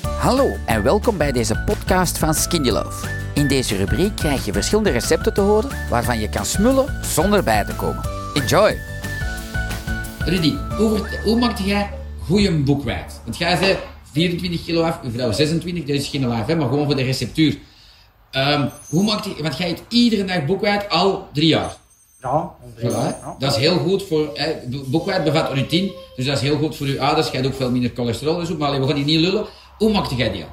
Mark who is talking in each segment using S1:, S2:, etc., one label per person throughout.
S1: Hallo en welkom bij deze podcast van Skinny Love. In deze rubriek krijg je verschillende recepten te horen waarvan je kan smullen zonder bij te komen. Enjoy!
S2: Rudy, hoe, wordt- hoe maak jij goede boekwijd? Want jij zei 24 kilo af, uw vrouw 26, dus is geen laaf, hè, maar gewoon voor de receptuur. Ehm, hoe maakt die, want jij eet iedere dag boekwijd al drie jaar.
S3: Ja, ongeveer.
S2: Voilà, hè.
S3: ja.
S2: Dat is heel goed voor, hè, bo- boekwijd bevat routine, dus dat is heel goed voor uw ouders. Jij hebt ook veel minder cholesterol en zo, maar allee, we gaan die niet lullen. Hoe maakte jij die al?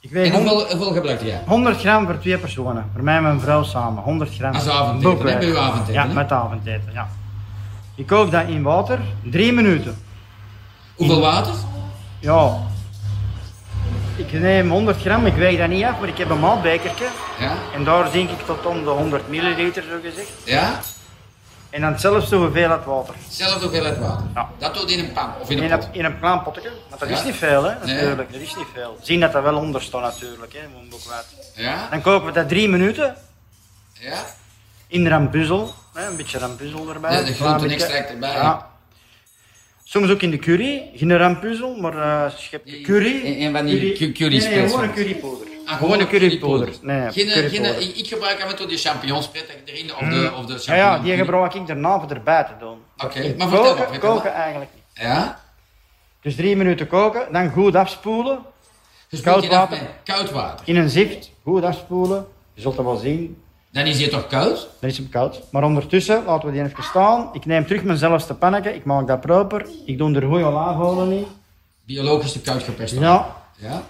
S3: Ik
S2: En
S3: weeg hon-
S2: hoeveel, hoeveel gebruikte jij?
S3: 100 gram voor twee personen. Voor mij en mijn vrouw samen. 100 gram.
S2: Als avondeten, hè?
S3: Boekwerk.
S2: Bij uw avondeten,
S3: Ja,
S2: hè?
S3: met avondeten, ja. Je kookt dat in water. 3 minuten.
S2: Hoeveel water?
S3: Ja. Ik neem 100 gram, ik weeg dat niet af, maar ik heb een maatbekertje.
S2: Ja?
S3: En daar zink ik tot om de 100 milliliter, zo gezegd.
S2: Ja?
S3: En dan zelfs zo hoeveelheid water.
S2: Zelfde hoeveelheid water.
S3: Ja.
S2: Dat doet in een pan of in
S3: In
S2: een
S3: een,
S2: pot.
S3: in een klein potje. Want dat
S2: Ja.
S3: is niet veel, hè?
S2: Nee.
S3: Natuurlijk, dat is niet veel. Zien dat dat wel onder staat, natuurlijk, hè? moet ook wat.
S2: Ja?
S3: Dan koken we dat 3 minuten.
S2: Ja?
S3: in rambuzel, hè, een beetje rambuzel erbij.
S2: Ja, de
S3: Een
S2: groenten
S3: beetje-
S2: extract erbij, ja.
S3: Ja. Soms ook in de curry, geen rambuzel, maar eh schep
S2: Nee,
S3: de curry.
S2: en- en van die cu- curry
S3: Nee, nee,
S2: specials.
S3: gewoon een currypoeder.
S2: Ah,
S3: gewoon een currypoeder. Nee,
S2: Geen,
S3: currypoeder. Hmm.
S2: geen, ik- ik gebruik af en toe die champignonspret dat je erin of de, of de champignon.
S3: ja, ja, die gebruik ik daarna voor erbij te doen.
S2: Oké,
S3: Ik
S2: maar vertel maar,
S3: koken,
S2: vertel maar.
S3: koken eigenlijk niet.
S2: Ja?
S3: Dus drie minuten koken, dan goed afspoelen.
S2: Dus
S3: Koud
S2: moet je dat
S3: water.
S2: met koud water.
S3: In een zift, goed afspoelen. Je zult dat wel zien,
S2: Dan is die toch koud?
S3: dan is hem koud. Maar ondertussen laten we die even staan. Ik neem terug mijn zelfste pannetje, ik maak dat proper. Ik doe er goede olijfolie in.
S2: Biologisch te koud geperst. Ja.
S3: Ja,
S2: ja?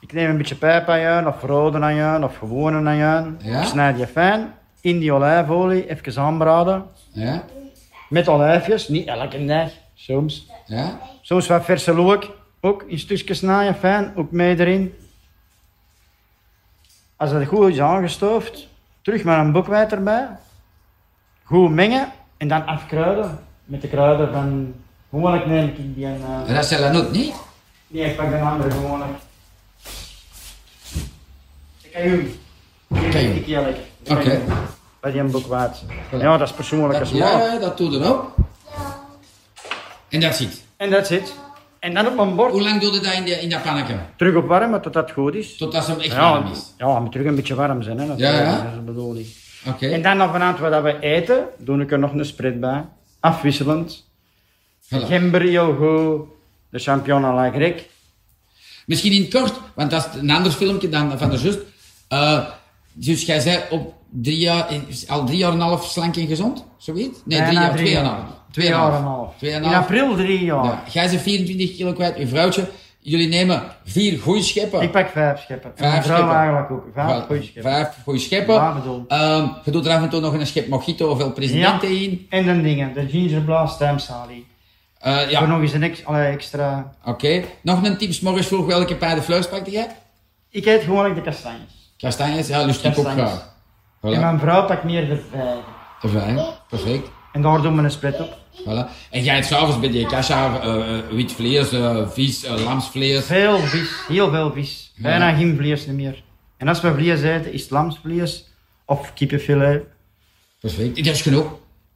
S3: Ik neem een beetje pijpajuin of rode ajuin of gewone ajuin.
S2: Ja?
S3: Ik snijd je fijn in die olijfolie, even aanbraden.
S2: Ja?
S3: Met olijfjes, niet elke dag, soms.
S2: Ja?
S3: Soms wat verse look, ook in stukjes snijden, fijn, ook mee erin. Als dat goed is aangestoofd, terug maar een boekwijd erbij. Goed mengen en dan afkruiden met de kruiden van... Gewoonlijk neem ik die een... eh,
S2: En dat zijn dan ook niet?
S3: Nee, ik pak de andere gewoon. De Cajun.
S2: Cajun.
S3: Ik eerlijk.
S2: Oké.
S3: Bij die een boek waard. Ja, dat is persoonlijke smaak.
S2: Ja, dat doet erop. En dat zit.
S3: En dat zit. En dan op mijn
S2: Hoe
S3: bord.
S2: lang doe je dat in, die, in dat pannetje?
S3: Terug opwarmen totdat het goed is.
S2: Totdat ze hem echt
S3: Ja,
S2: warm is.
S3: ja, moet terug een beetje warm zijn. Hè, natuurlijk.
S2: Ja, ja.
S3: Dat is de bedoeling.
S2: Oké.
S3: En dan vanavond wat we eten, doe ik er nog een spread bij. Afwisselend.
S2: Voilà.
S3: Gember heel goed. De champignon à la grecque.
S2: Misschien in het kort, want dat is een ander filmpje dan van de zus. Eh, dus jij zei op drie jaar, in- al drie jaar en een half slank en gezond? Zoiets? Nee,
S3: Bijna
S2: drie jaar,
S3: drie
S2: twee jaar en
S3: jaar.
S2: een half.
S3: Twee jaar en een half.
S2: Twee jaar en
S3: In
S2: een half.
S3: april drie jaar.
S2: Ja, jij bent 24 kilo kwijt, uw vrouwtje. Jullie nemen vier goeie scheppen.
S3: Ik pak vijf scheppen. En
S2: Vijf
S3: mijn vrouw
S2: scheppen.
S3: eigenlijk ook. Vijf
S2: Wel,
S3: goede scheppen.
S2: Vijf goeie scheppen.
S3: Ja, bedoel.
S2: Ehm, je doet er af en toe nog een schep mojito of veel presidenten in.
S3: En dan dingen, de ginger blast stemsalie.
S2: Eh,
S3: Voor
S2: ja,
S3: nog eens een ex- allee, extra.
S2: oké. Nog een tip, 's morgens vroeg welke paarden vleugels pakte jij?
S3: Ik eet gewoon de kastanjes.
S2: Kastanjes, ja, lust ik ook
S3: Kastanjes.
S2: graag.
S3: En
S2: Voilà,
S3: mijn vrouw pakt meer de vijgen.
S2: fijn, perfect.
S3: En daar doen we een split op.
S2: Voilà. En jij hebt s'avonds bij die kasha eh, eh, wit vlees, eh, vis, eh, lamsvlees.
S3: Veel vis, heel veel vis. Bijna geen vlees meer. En als we vlees eten, is het lamsvlees of kippenfilet.
S2: Perfect. Dat is genoeg.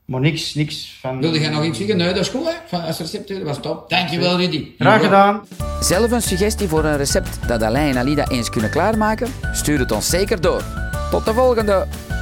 S3: Maar niks, niks van...
S2: Wilde jij nog iets zeggen? Nee, dat is goed hè. Van, als recept, dat was top. Dankjewel Rudy.
S3: Graag gedaan.
S1: Zelf een suggestie voor een recept dat Alain en Alida eens kunnen klaarmaken? Stuur het ons zeker door. Tot de volgende!